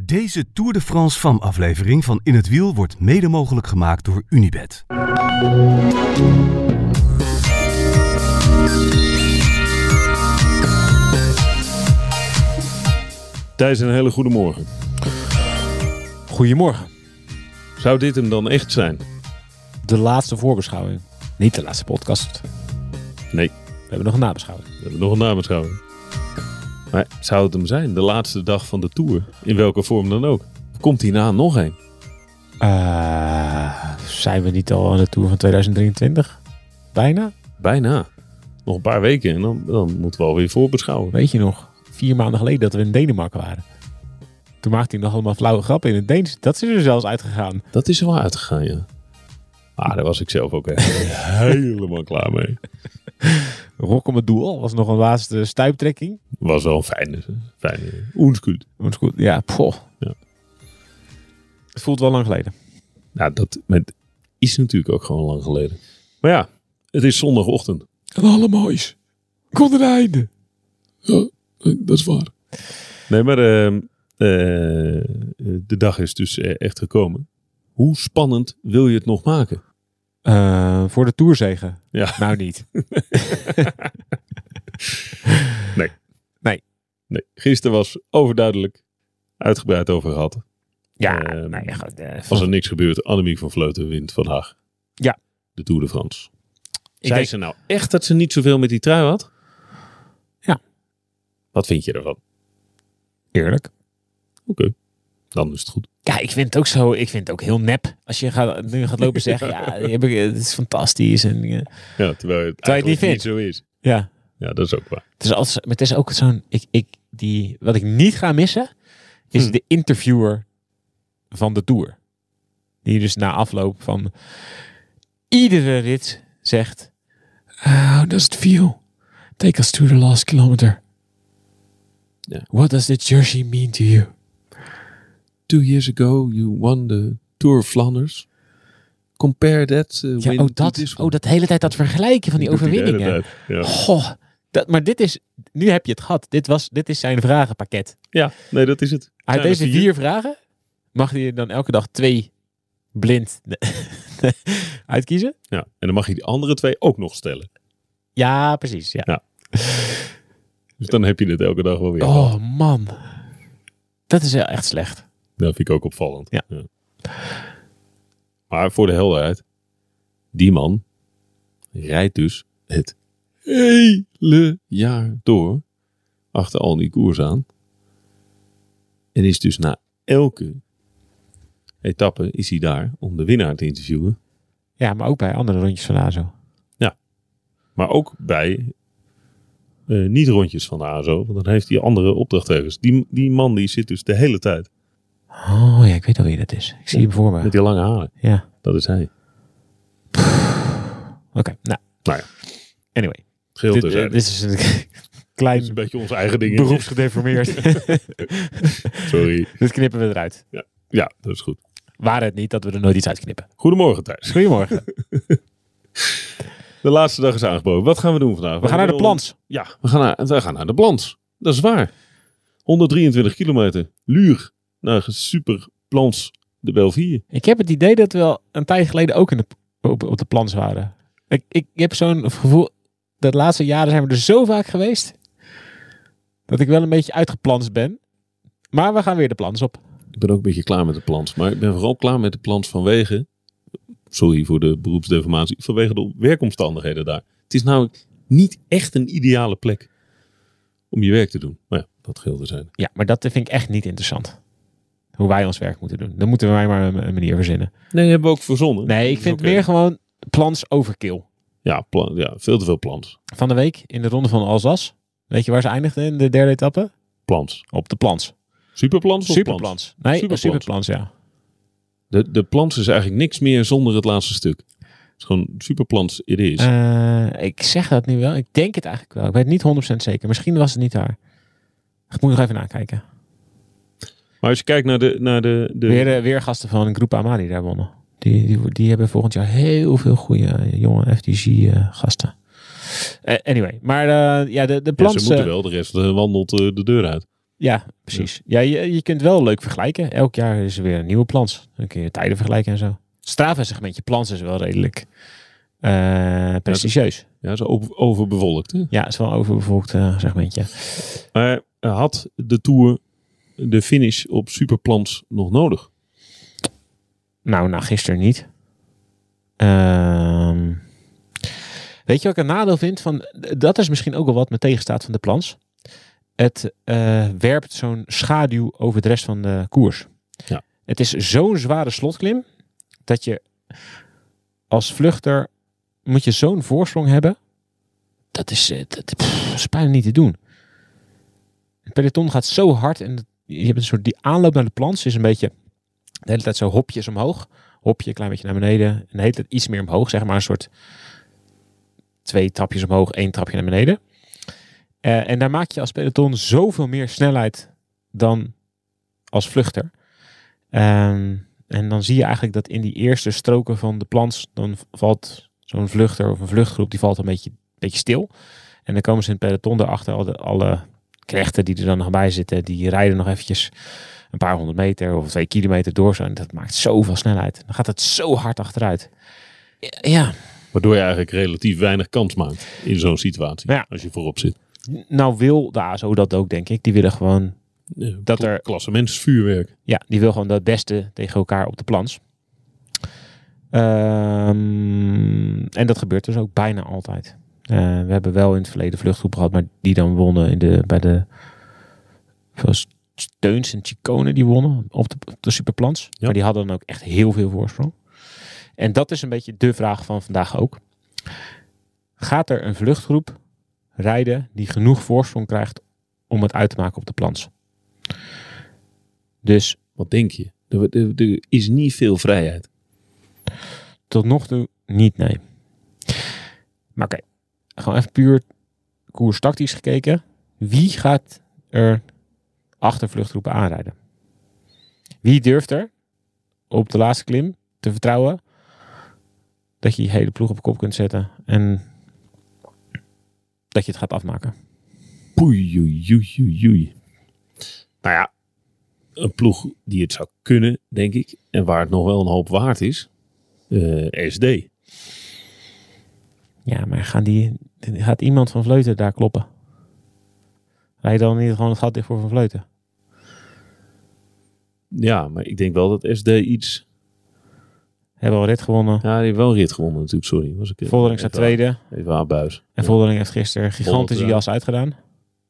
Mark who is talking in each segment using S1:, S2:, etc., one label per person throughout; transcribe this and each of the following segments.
S1: Deze Tour de France van aflevering van In het Wiel wordt mede mogelijk gemaakt door Unibed.
S2: Thijs, een hele goede morgen.
S3: Goedemorgen.
S2: Zou dit hem dan echt zijn?
S3: De laatste voorbeschouwing. Niet de laatste podcast.
S2: Nee,
S3: We hebben nog een nabeschouwing.
S2: we hebben nog een nabeschouwing. Maar zou het hem zijn? De laatste dag van de Tour. In welke vorm dan ook. Komt hierna nog een?
S3: Eh, zijn we niet al aan de Tour van 2023? Bijna?
S2: Bijna. Nog een paar weken en dan, dan moeten we alweer voorbeschouwen.
S3: Weet je nog, vier maanden geleden dat we in Denemarken waren. Toen maakte hij nog allemaal flauwe grappen in het Deens. Dat is er zelfs uitgegaan.
S2: Dat is er wel uitgegaan, ja. Maar daar was ik zelf ook echt helemaal klaar mee.
S3: Rok om het doel was nog een laatste stuiptrekking.
S2: Was wel een fijne, fijne oenskuut.
S3: Maar het is goed. Ja, poh.
S2: Ja.
S3: Het voelt wel lang geleden.
S2: Nou, dat met, is natuurlijk ook gewoon lang geleden. Maar ja, het is zondagochtend.
S3: En alle moois. Komt een einde.
S2: Dat is waar. Nee, maar eh, eh, de dag is dus eh, echt gekomen. Hoe spannend wil je het nog maken?
S3: Eh, voor de toerzegen.
S2: Ja.
S3: Nou niet.
S2: Nee, gisteren was overduidelijk uitgebreid over gehad.
S3: Ja,
S2: Ehm,
S3: nou ja, goed, eh,
S2: Als er niks gebeurt, Annemiek van Vleuten wint vandaag.
S3: Ja.
S2: De Tour de France.
S3: ik
S2: Zei
S3: denk,
S2: ze nou echt dat ze niet zoveel met die trui had?
S3: Ja.
S2: Wat vind je ervan?
S3: eerlijk.
S2: Oké, dan is het goed.
S3: Ja, ik vind het ook zo. Ik vind het ook heel nep. Als je gaat, nu gaat lopen zeggen, ja, die heb ik, het is fantastisch. En, eh,
S2: Ja, terwijl het,
S3: Terwijl je het niet
S2: eigenlijk niet
S3: vindt.
S2: zo is.
S3: ja,
S2: Ja, dat is ook waar.
S3: het is altijd, zo- maar het is ook zo'n, ik, ik, die, wat ik niet ga missen, is
S2: Hm.
S3: de interviewer van de Tour. Die dus na afloop van iedere rit zegt, "Ah, how does it feel? Take us to the last kilometer.
S2: Ja.
S3: What does the jersey mean to you?
S2: two years ago you won the Tour of Flanders. Compare that uh,
S3: Ja,
S2: win
S3: oh
S2: to
S3: dat,
S2: this
S3: oh,
S2: one.
S3: dat de hele tijd dat vergelijken van die Oh.
S2: Doet hij de hele
S3: overwinningen.
S2: tijd, Ja.
S3: Goh, dat, maar dit is, nu heb je het gehad. Dit, was, dit is zijn vragenpakket.
S2: ja, nee, dat is het.
S3: Uit
S2: Zijn er
S3: deze vier. vragen mag hij er dan elke dag twee blind uitkiezen.
S2: Ja, en dan mag je die andere twee ook nog stellen.
S3: Ja, precies. Ja.
S2: Dus dan heb je dit elke dag wel weer.
S3: Oh man, dat is wel echt slecht.
S2: Dat vind ik ook opvallend.
S3: Ja.
S2: Maar voor de helderheid, die man rijdt dus het hele jaar door achter al die koers aan. En is dus na elke etappe is hij daar om de winnaar te interviewen.
S3: Ja, maar ook bij andere rondjes van ASO.
S2: Maar ook bij eh, niet-rondjes van de ASO. Want dan heeft hij andere opdrachtgevers. Die, die man die zit dus de hele tijd
S3: Oh ja, ik weet al wie dat is. Ik zie hem voor me.
S2: met die lange haren.
S3: Ja,
S2: Dat is hij.
S3: oké. Nou,
S2: Nou ja,
S3: anyway.
S2: geheel
S3: Dit, eh,
S2: terzijde.
S3: dit is een
S2: Dit is
S3: klein
S2: een beetje ons eigen ding.
S3: beroepsgedeformeerd.
S2: Sorry.
S3: dit knippen we eruit.
S2: Ja, dat is goed.
S3: Waren het niet dat we er nooit iets uitknippen.
S2: Goedemorgen Thijs.
S3: Goedemorgen.
S2: De laatste dag is aangebroken. Wat gaan we doen vandaag?
S3: We gaan naar de plans.
S2: Ja, we gaan naar, we gaan naar de Plans. Dat is waar. 123 kilometer. Luur. Naar super Plans de Belvier.
S3: Ik heb het idee dat we al een tijd geleden ook in de, op, op de plans waren. Ik, ik heb zo'n gevoel, dat de laatste jaren zijn we er zo vaak geweest, dat ik wel een beetje uitgeplanst ben. Maar we gaan weer de plans op.
S2: Ik ben ook een beetje klaar met de plans. Maar ik ben vooral klaar met de plans vanwege. Sorry voor de beroepsdeformatie. Vanwege de werkomstandigheden daar. Het is namelijk niet echt een ideale plek om je werk te doen. Maar ja, dat geheel te zijn.
S3: Ja, maar dat vind ik echt niet interessant. Hoe wij ons werk moeten doen. Dan moeten wij maar een, een manier verzinnen.
S2: Nee, die hebben we ook verzonnen.
S3: Nee, ik
S2: Dus
S3: vind
S2: oké.
S3: meer gewoon plans overkill.
S2: Ja, plan, ja, veel te veel plans.
S3: Van de week in de ronde van Alsace. Weet je waar ze eindigden in de derde etappe?
S2: Plans.
S3: Op de plans.
S2: Superplans of plans?
S3: Superplans. Nee,
S2: Superplans.
S3: superplans, ja.
S2: De, de plans is eigenlijk niks meer zonder het laatste stuk. Het is gewoon superplans it is.
S3: Eh, ik zeg dat nu wel. Ik denk het eigenlijk wel. Ik weet het niet 100% zeker. Misschien was het niet daar. Ik moet nog even nakijken.
S2: maar als je kijkt naar de... Naar de, de
S3: Weer, eh, weer gasten van Groep Amari die daar wonnen. Die, die, die hebben volgend jaar heel veel goede eh, jonge FTG-gasten. anyway, maar eh, ja, de, de
S2: ja,
S3: plans...
S2: ze moeten
S3: eh,
S2: wel, de rest eh, wandelt eh, de deur uit.
S3: Ja, precies. Ja, je, je kunt wel leuk vergelijken. Elk jaar is er weer een nieuwe plans. Dan kun je tijden vergelijken en zo. Strava-segmentje plans is wel redelijk eh, prestigieus.
S2: Ja, zo over- overbevolkt. Hè?
S3: Ja, het is wel een overbevolkt eh, segmentje.
S2: Maar eh, had de Tour de finish op Superplans nog nodig?
S3: Nou, nou, gisteren niet. Ehm, weet je wat ik een nadeel vind? Van, dat is misschien ook wel wat me tegenstaat van de plans. Het eh, werpt zo'n schaduw over de rest van de koers.
S2: Ja.
S3: Het is zo'n zware slotklim dat je als vluchter moet je zo'n voorsprong hebben. Dat is, eh, dat, pff, is bijna niet te doen. Het peloton gaat zo hard en je hebt een soort die aanloop naar de plans is een beetje de hele tijd zo hopjes omhoog. Hopje, een klein beetje naar beneden. En de hele tijd iets meer omhoog, zeg maar. Een soort twee trapjes omhoog, één trapje naar beneden. Eh, en daar maak je als peloton zoveel meer snelheid dan als vluchter. Ehm, en dan zie je eigenlijk dat in die eerste stroken van de plans, dan v- valt zo'n vluchter of een vluchtgroep, die valt een beetje, beetje stil. En dan komen ze in het peloton erachter, alle, alle krechten die er dan nog bij zitten, die rijden nog eventjes een paar honderd meter of twee kilometer door zijn. Dat maakt zoveel snelheid. Dan gaat het zo hard achteruit. Ja,
S2: Waardoor je eigenlijk relatief weinig kans maakt in zo'n situatie.
S3: Ja.
S2: Als je voorop zit.
S3: nou wil de ASO dat ook, denk ik. Die willen gewoon, Dat er-
S2: Eh, Klassementsvuurwerk.
S3: ja, die wil gewoon dat beste tegen elkaar op de plans. Ehm, en dat gebeurt dus ook bijna altijd. Eh, we hebben wel in het verleden vluchtgroepen gehad, maar die dan wonnen in de, bij de zoals Steuns en Chicone die wonnen op de, op de superplans. Maar die hadden dan ook echt heel veel voorsprong. En dat is een beetje de vraag van vandaag ook. Gaat er een vluchtgroep rijden die genoeg voorsprong krijgt om het uit te maken op de plans? Dus
S2: Wat denk je? Er, er- er is niet veel vrijheid.
S3: Tot nog toe niet, nee. Maar oké, gewoon even puur koerstactisch gekeken. Wie gaat er achter vluchtgroepen aanrijden? Wie durft er op de laatste klim te vertrouwen dat je je hele ploeg op kop kunt zetten en dat je het gaat afmaken?
S2: Poei, oei, oei, oei, oei. Nou ja, een ploeg die het zou kunnen, denk ik. En waar het nog wel een hoop waard is. eh, SD.
S3: Ja, maar gaan die, gaat iemand van Vleuten daar kloppen? Rij dan niet gewoon het gat dicht voor Van Vleuten?
S2: Ja, maar ik denk wel dat SD iets...
S3: Hebben we al rit gewonnen.
S2: Ja, die heeft wel een rit gewonnen natuurlijk. Sorry. Was ik, eh,
S3: Voldering staat
S2: even aan-
S3: tweede.
S2: Even aan buis.
S3: En Voldering heeft gisteren gigantische
S2: Voldering.
S3: jas uitgedaan.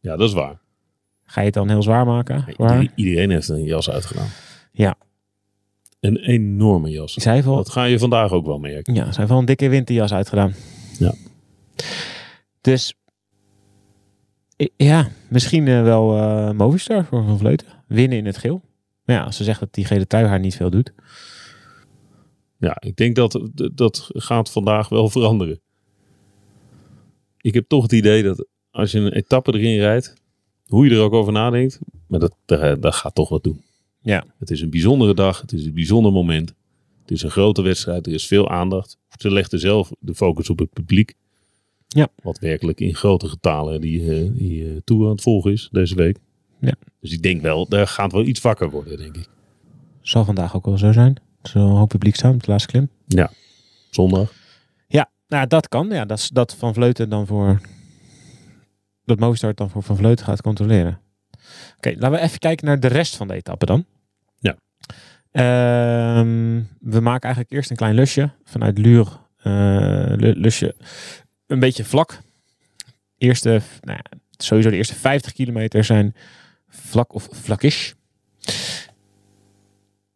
S2: Ja, dat is waar.
S3: Ga je het dan heel zwaar maken?
S2: Nee,
S3: Waar?
S2: ieder- Iedereen heeft een jas uitgedaan.
S3: Ja.
S2: Een enorme jas.
S3: Zij heeft wel,
S2: Dat ga je vandaag ook wel merken.
S3: ja, zij heeft wel een dikke winterjas uitgedaan.
S2: Ja.
S3: Dus i- ja, misschien eh, wel eh, Movistar voor Van Vleuten. Winnen in het geel. Maar ja, als ze zegt dat die gele trui haar niet veel doet.
S2: Ja, ik denk dat dat gaat vandaag wel veranderen. Ik heb toch het idee dat als je een etappe erin rijdt, hoe je er ook over nadenkt, maar dat, dat, dat gaat toch wat doen.
S3: Ja.
S2: Het is een bijzondere dag, het is een bijzonder moment. Het is een grote wedstrijd, er is veel aandacht. Ze legden zelf de focus op het publiek.
S3: Ja.
S2: Wat werkelijk in grote getalen die, eh, die eh, Tour aan het volgen is deze week.
S3: Ja.
S2: Dus ik denk wel, daar gaat wel iets wakker worden, denk ik.
S3: Zal vandaag ook wel zo zijn. Er zal een hoop publiek staan op de laatste klim.
S2: Zondag.
S3: Ja, nou dat kan. Ja, dat, is- dat Van Vleuten dan voor... Dat Movistar het dan voor Van Vleuten gaat controleren. Oké, laten we even kijken naar de rest van de etappe dan.
S2: Ja.
S3: Ehm, we maken eigenlijk eerst een klein lusje vanuit Luur. eh, lu- lusje een beetje vlak. Eerste, nou ja, sowieso de eerste 50 kilometer zijn vlak of vlakkish.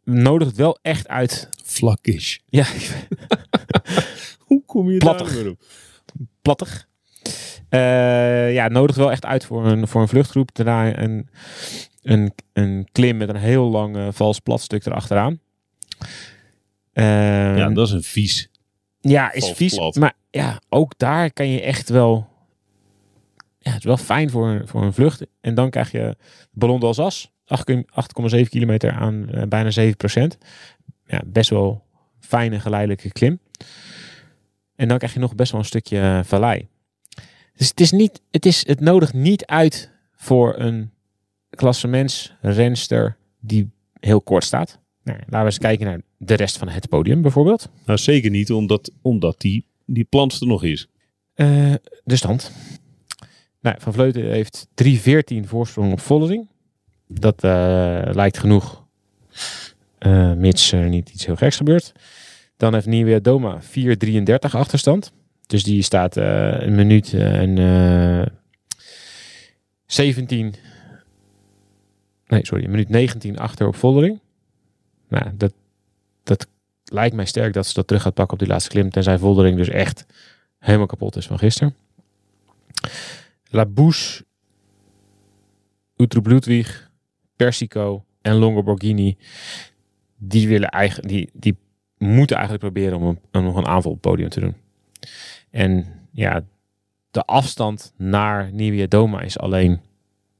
S3: Nodig het wel echt uit.
S2: Vlakkish.
S3: Ja,
S2: Hoe kom je
S3: Plattig.
S2: daar weer op?
S3: plattig. Eh, ja, nodig wel echt uit voor een, voor een vluchtgroep. Daarna een, een, een klim met een heel lang eh, vals platstuk erachteraan. Ehm,
S2: Ja, dat is een vies.
S3: ja, is
S2: valt
S3: vies.
S2: plat.
S3: Maar ja, ook daar kan je echt wel... Ja, het is wel fijn voor, voor een vlucht. En dan krijg je Ballon d'Alsace. 8,7 kilometer aan eh, bijna 7 procent. Ja, best wel fijne geleidelijke klim. En dan krijg je nog best wel een stukje eh, vallei. Dus het is niet... Het, is, het nodigt niet uit voor een klassementsrenster die heel kort staat. Nou, laten we eens kijken naar de rest van het podium bijvoorbeeld.
S2: Nou, zeker niet, omdat, omdat die, die plant er nog is.
S3: Eh, de stand. Nou, van Vleuten heeft 3-14 voorsprong op Vollering. Dat eh, lijkt genoeg. Eh, mits er niet iets heel geks gebeurt. Dan heeft Nieuwe Doma 4-33 achterstand. Dus die staat eh, een minuut en eh, 17. Nee, sorry, een minuut 19 achter op Vollering. Nou, dat, dat lijkt mij sterk dat ze dat terug gaat pakken op die laatste klim. Tenzij Vollering dus echt helemaal kapot is van gisteren. Labouche, Utrecht Ludwig, Persico en Longo Borghini. Die, willen eigenlijk, die, die moeten eigenlijk proberen om, een, om nog een aanval op het podium te doen. En ja, de afstand naar Nieuwe Doma is alleen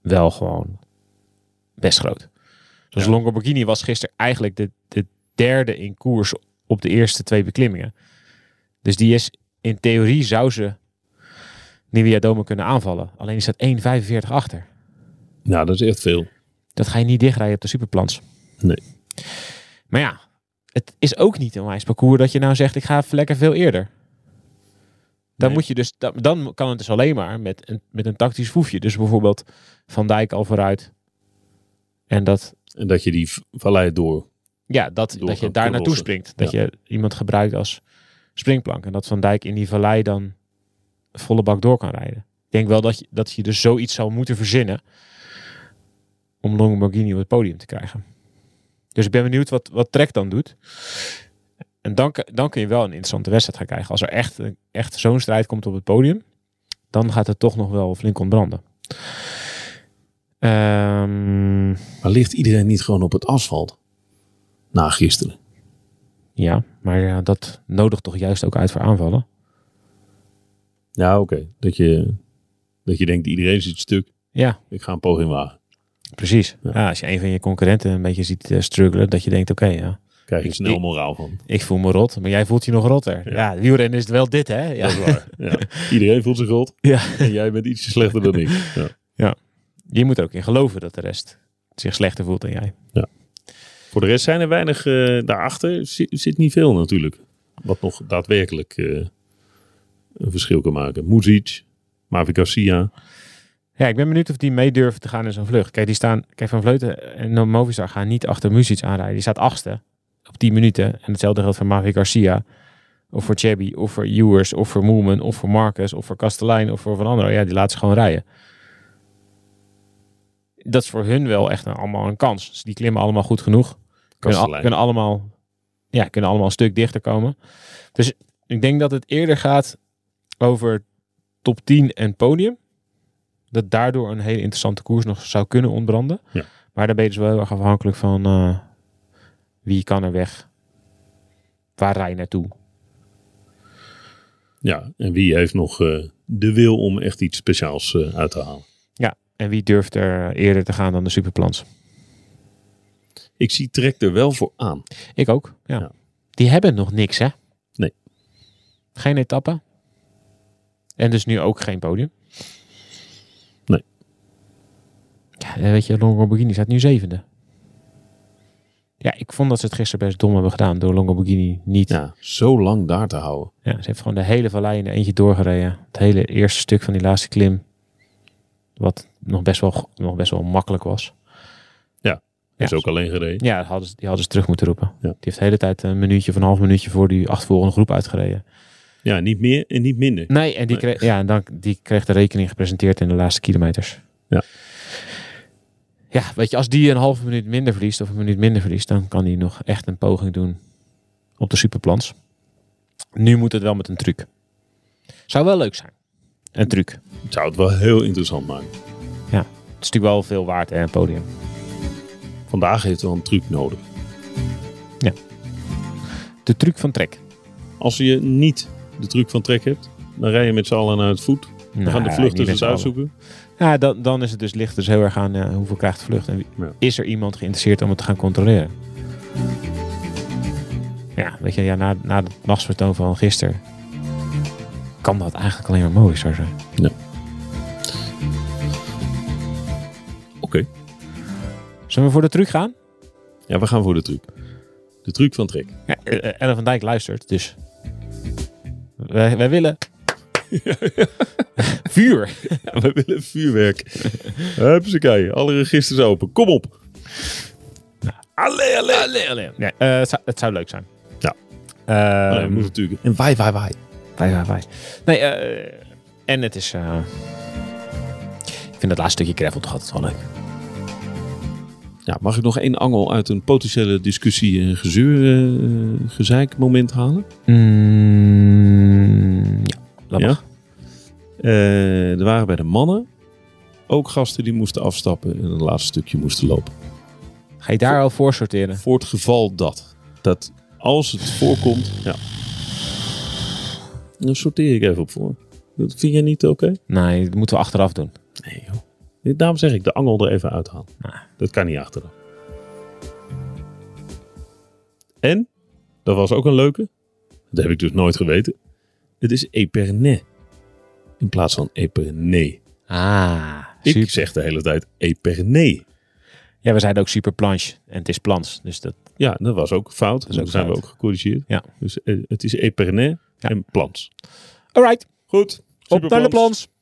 S3: wel gewoon best groot. Dus
S2: Ja.
S3: Longo Borghini was gisteren eigenlijk de, de derde in koers op de eerste twee beklimmingen. Dus die is in theorie zou ze Nieuwe Dome kunnen aanvallen. Alleen is dat 1,45 achter.
S2: Nou, dat is echt veel.
S3: Dat ga je niet dichtrijden op de superplans.
S2: Nee.
S3: Maar ja, het is ook niet een wijs parcours dat je nou zegt... ik ga even lekker veel eerder. Dan,
S2: Nee.
S3: moet je dus, dan, dan kan het dus alleen maar met een, met een tactisch voefje. Dus bijvoorbeeld Van Dijk al vooruit. En dat,
S2: En dat je die v- vallei door.
S3: ja, dat,
S2: Door
S3: dat je
S2: kan
S3: daar naartoe
S2: crossen.
S3: springt. Dat je iemand gebruikt als springplank. En dat Van Dijk in die vallei dan volle bak door kan rijden. Ik denk wel dat je, dat je dus zoiets zou moeten verzinnen om Longoborghini op het podium te krijgen. Dus ik ben benieuwd wat, wat Trek dan doet. En dan, kun- dan kun je wel een interessante wedstrijd gaan krijgen. Als er echt, een- echt zo'n strijd komt op het podium, dan gaat het toch nog wel flink ontbranden. Ehm,
S2: Maar ligt iedereen niet gewoon op het asfalt? Na gisteren.
S3: Ja, maar ja, dat nodigt toch juist ook uit voor aanvallen?
S2: Ja, oké. Dat, je, dat je denkt, iedereen zit stuk.
S3: Ja,
S2: Ik ga een poging wagen.
S3: precies.
S2: Ja.
S3: Ja. als je een van je concurrenten een beetje ziet eh, struggelen, dat je denkt, oké, ja,
S2: Krijg je
S3: Ik-
S2: snel
S3: ik-
S2: moraal van.
S3: ik voel me rot, maar jij voelt je nog rotter. Ja, wielrennen is het wel dit, hè? Ja.
S2: Dat is waar. Ja. Iedereen voelt zich rot.
S3: Ja.
S2: En jij bent ietsje slechter dan ik. Ja.
S3: Je moet er ook in geloven dat de rest zich slechter voelt dan jij.
S2: Voor de rest zijn er weinig eh, daarachter. Zit, zit niet veel natuurlijk. Wat nog daadwerkelijk eh, een verschil kan maken. Muzic, Mavi Garcia.
S3: Ja, ik ben benieuwd of die mee durven te gaan in zo'n vlucht. Kijk, die staan, kijk Van Vleuten en Movistar gaan niet achter Music aanrijden. Die staat achtste op 10 minuten. En hetzelfde geldt voor Mavi Garcia. Of voor Chabby, of voor Ewers, of voor Moeman, of voor Marcus, of voor Kastelein, of voor Van Andro. Ja, die laat ze gewoon rijden. Dat is voor hun wel echt een- allemaal een kans. Dus die klimmen allemaal goed genoeg. Kunnen, al-
S2: Kastelein.
S3: kunnen allemaal, ja, kunnen allemaal een stuk dichter komen. Dus ik denk dat het eerder gaat over top 10 en podium dat daardoor een hele interessante koers nog zou kunnen ontbranden.
S2: Ja.
S3: Maar dan ben je dus wel heel erg afhankelijk van eh, wie kan er weg. Waar rij je naartoe?
S2: Ja, en wie heeft nog eh, de wil om echt iets speciaals eh, uit te halen?
S3: En wie durft er eerder te gaan dan de superplans?
S2: Ik zie Trek er wel voor aan.
S3: Ik ook, ja.
S2: Ja.
S3: Die hebben nog niks, hè?
S2: Nee.
S3: Geen etappe. En dus nu ook geen podium.
S2: Nee.
S3: Ja, eh, weet je, Longo Borghini staat nu zevende. Ja, ik vond dat ze het gisteren best dom hebben gedaan door Longo Borghini niet
S2: Ja, zo lang daar te houden.
S3: Ja, ze heeft gewoon de hele vallei in eentje doorgereden. Het hele eerste stuk van die laatste klim. Wat nog best wel, nog best wel makkelijk was. Ja.
S2: Is ook alleen gereden.
S3: Ja, dat hadden ze, die hadden ze terug moeten roepen.
S2: Ja.
S3: Die heeft de hele tijd een minuutje of een half minuutje voor die achtvolgende groep uitgereden.
S2: Ja, niet meer en niet minder.
S3: Nee, en die,
S2: Nee.
S3: Kreeg, ja, en dan, die kreeg de rekening gepresenteerd in de laatste kilometers.
S2: Ja.
S3: Ja, weet je, als die een halve minuut minder verliest of een minuut minder verliest, dan kan die nog echt een poging doen op de superplans. Nu moet het wel met een truc. Zou wel leuk zijn. Een truc.
S2: Het zou het wel heel interessant maken.
S3: Het is natuurlijk wel veel waard, hè, een podium.
S2: Vandaag heeft wel een truc nodig.
S3: De truc van Trek.
S2: Als je niet de truc van Trek hebt, dan rij je met z'n allen naar het voet.
S3: We
S2: We gaan de vluchters eens uitzoeken.
S3: Ja, dan, dan is het dus licht dus heel erg aan eh, hoeveel krijgt de vlucht. En wie-
S2: Ja.
S3: is er iemand geïnteresseerd om het te gaan controleren? Ja, weet je, ja, na, na het machtsvertoon van gisteren... kan dat eigenlijk alleen maar mooi zijn.
S2: Oké,
S3: Zullen we voor de truc gaan?
S2: Ja, we gaan voor de truc. De truc van Trek.
S3: Ja, eh, eh, Ellen van Dijk luistert, dus. Wij, wij willen. Vuur.
S2: Ja, we willen vuurwerk. Hupsakee, alle registers open. Kom op. Allee, allee, allee, allee.
S3: Nee, eh, het, zou, het zou leuk zijn.
S2: Ja.
S3: Ehm,
S2: Oh, dat moet natuurlijk. En wij, wij, wij.
S3: Wij, wij, wij. Nee, eh, en het is... eh, ik vind dat laatste stukje gravel toch altijd wel leuk.
S2: Ja, mag ik nog één angel uit een potentiële discussie en gezeur, eh, gezeik moment halen?
S3: ja, dat
S2: Ja?
S3: mag.
S2: Eh, er waren bij de mannen ook gasten die moesten afstappen en een laatste stukje moesten lopen.
S3: Ga je daar al voor sorteren?
S2: Voor het geval dat. Dat als het voorkomt. Ja. Dan sorteer ik even op voor. Dat vind jij niet oké?
S3: Nee, dat moeten we achteraf doen.
S2: Nee, joh. Dit- Daarom zeg ik de angel er even uithalen.
S3: Nou.
S2: Dat kan niet achteraf. En, dat was ook een leuke. Dat heb ik dus nooit geweten. Het is Epernay. In plaats van Epernay.
S3: Ah,
S2: Ik
S3: super.
S2: zeg de hele tijd Epernay.
S3: Ja, we zeiden ook super planche. En het is plans. Dus dat...
S2: Ja, dat was ook fout. Dat,
S3: is ook
S2: zijn we
S3: fout.
S2: ook gecorrigeerd.
S3: Ja.
S2: Dus eh, het is Epernay
S3: Ja.
S2: en Plans.
S3: Alright,
S2: Goed.
S3: op naar de
S2: Superplans.
S3: plans.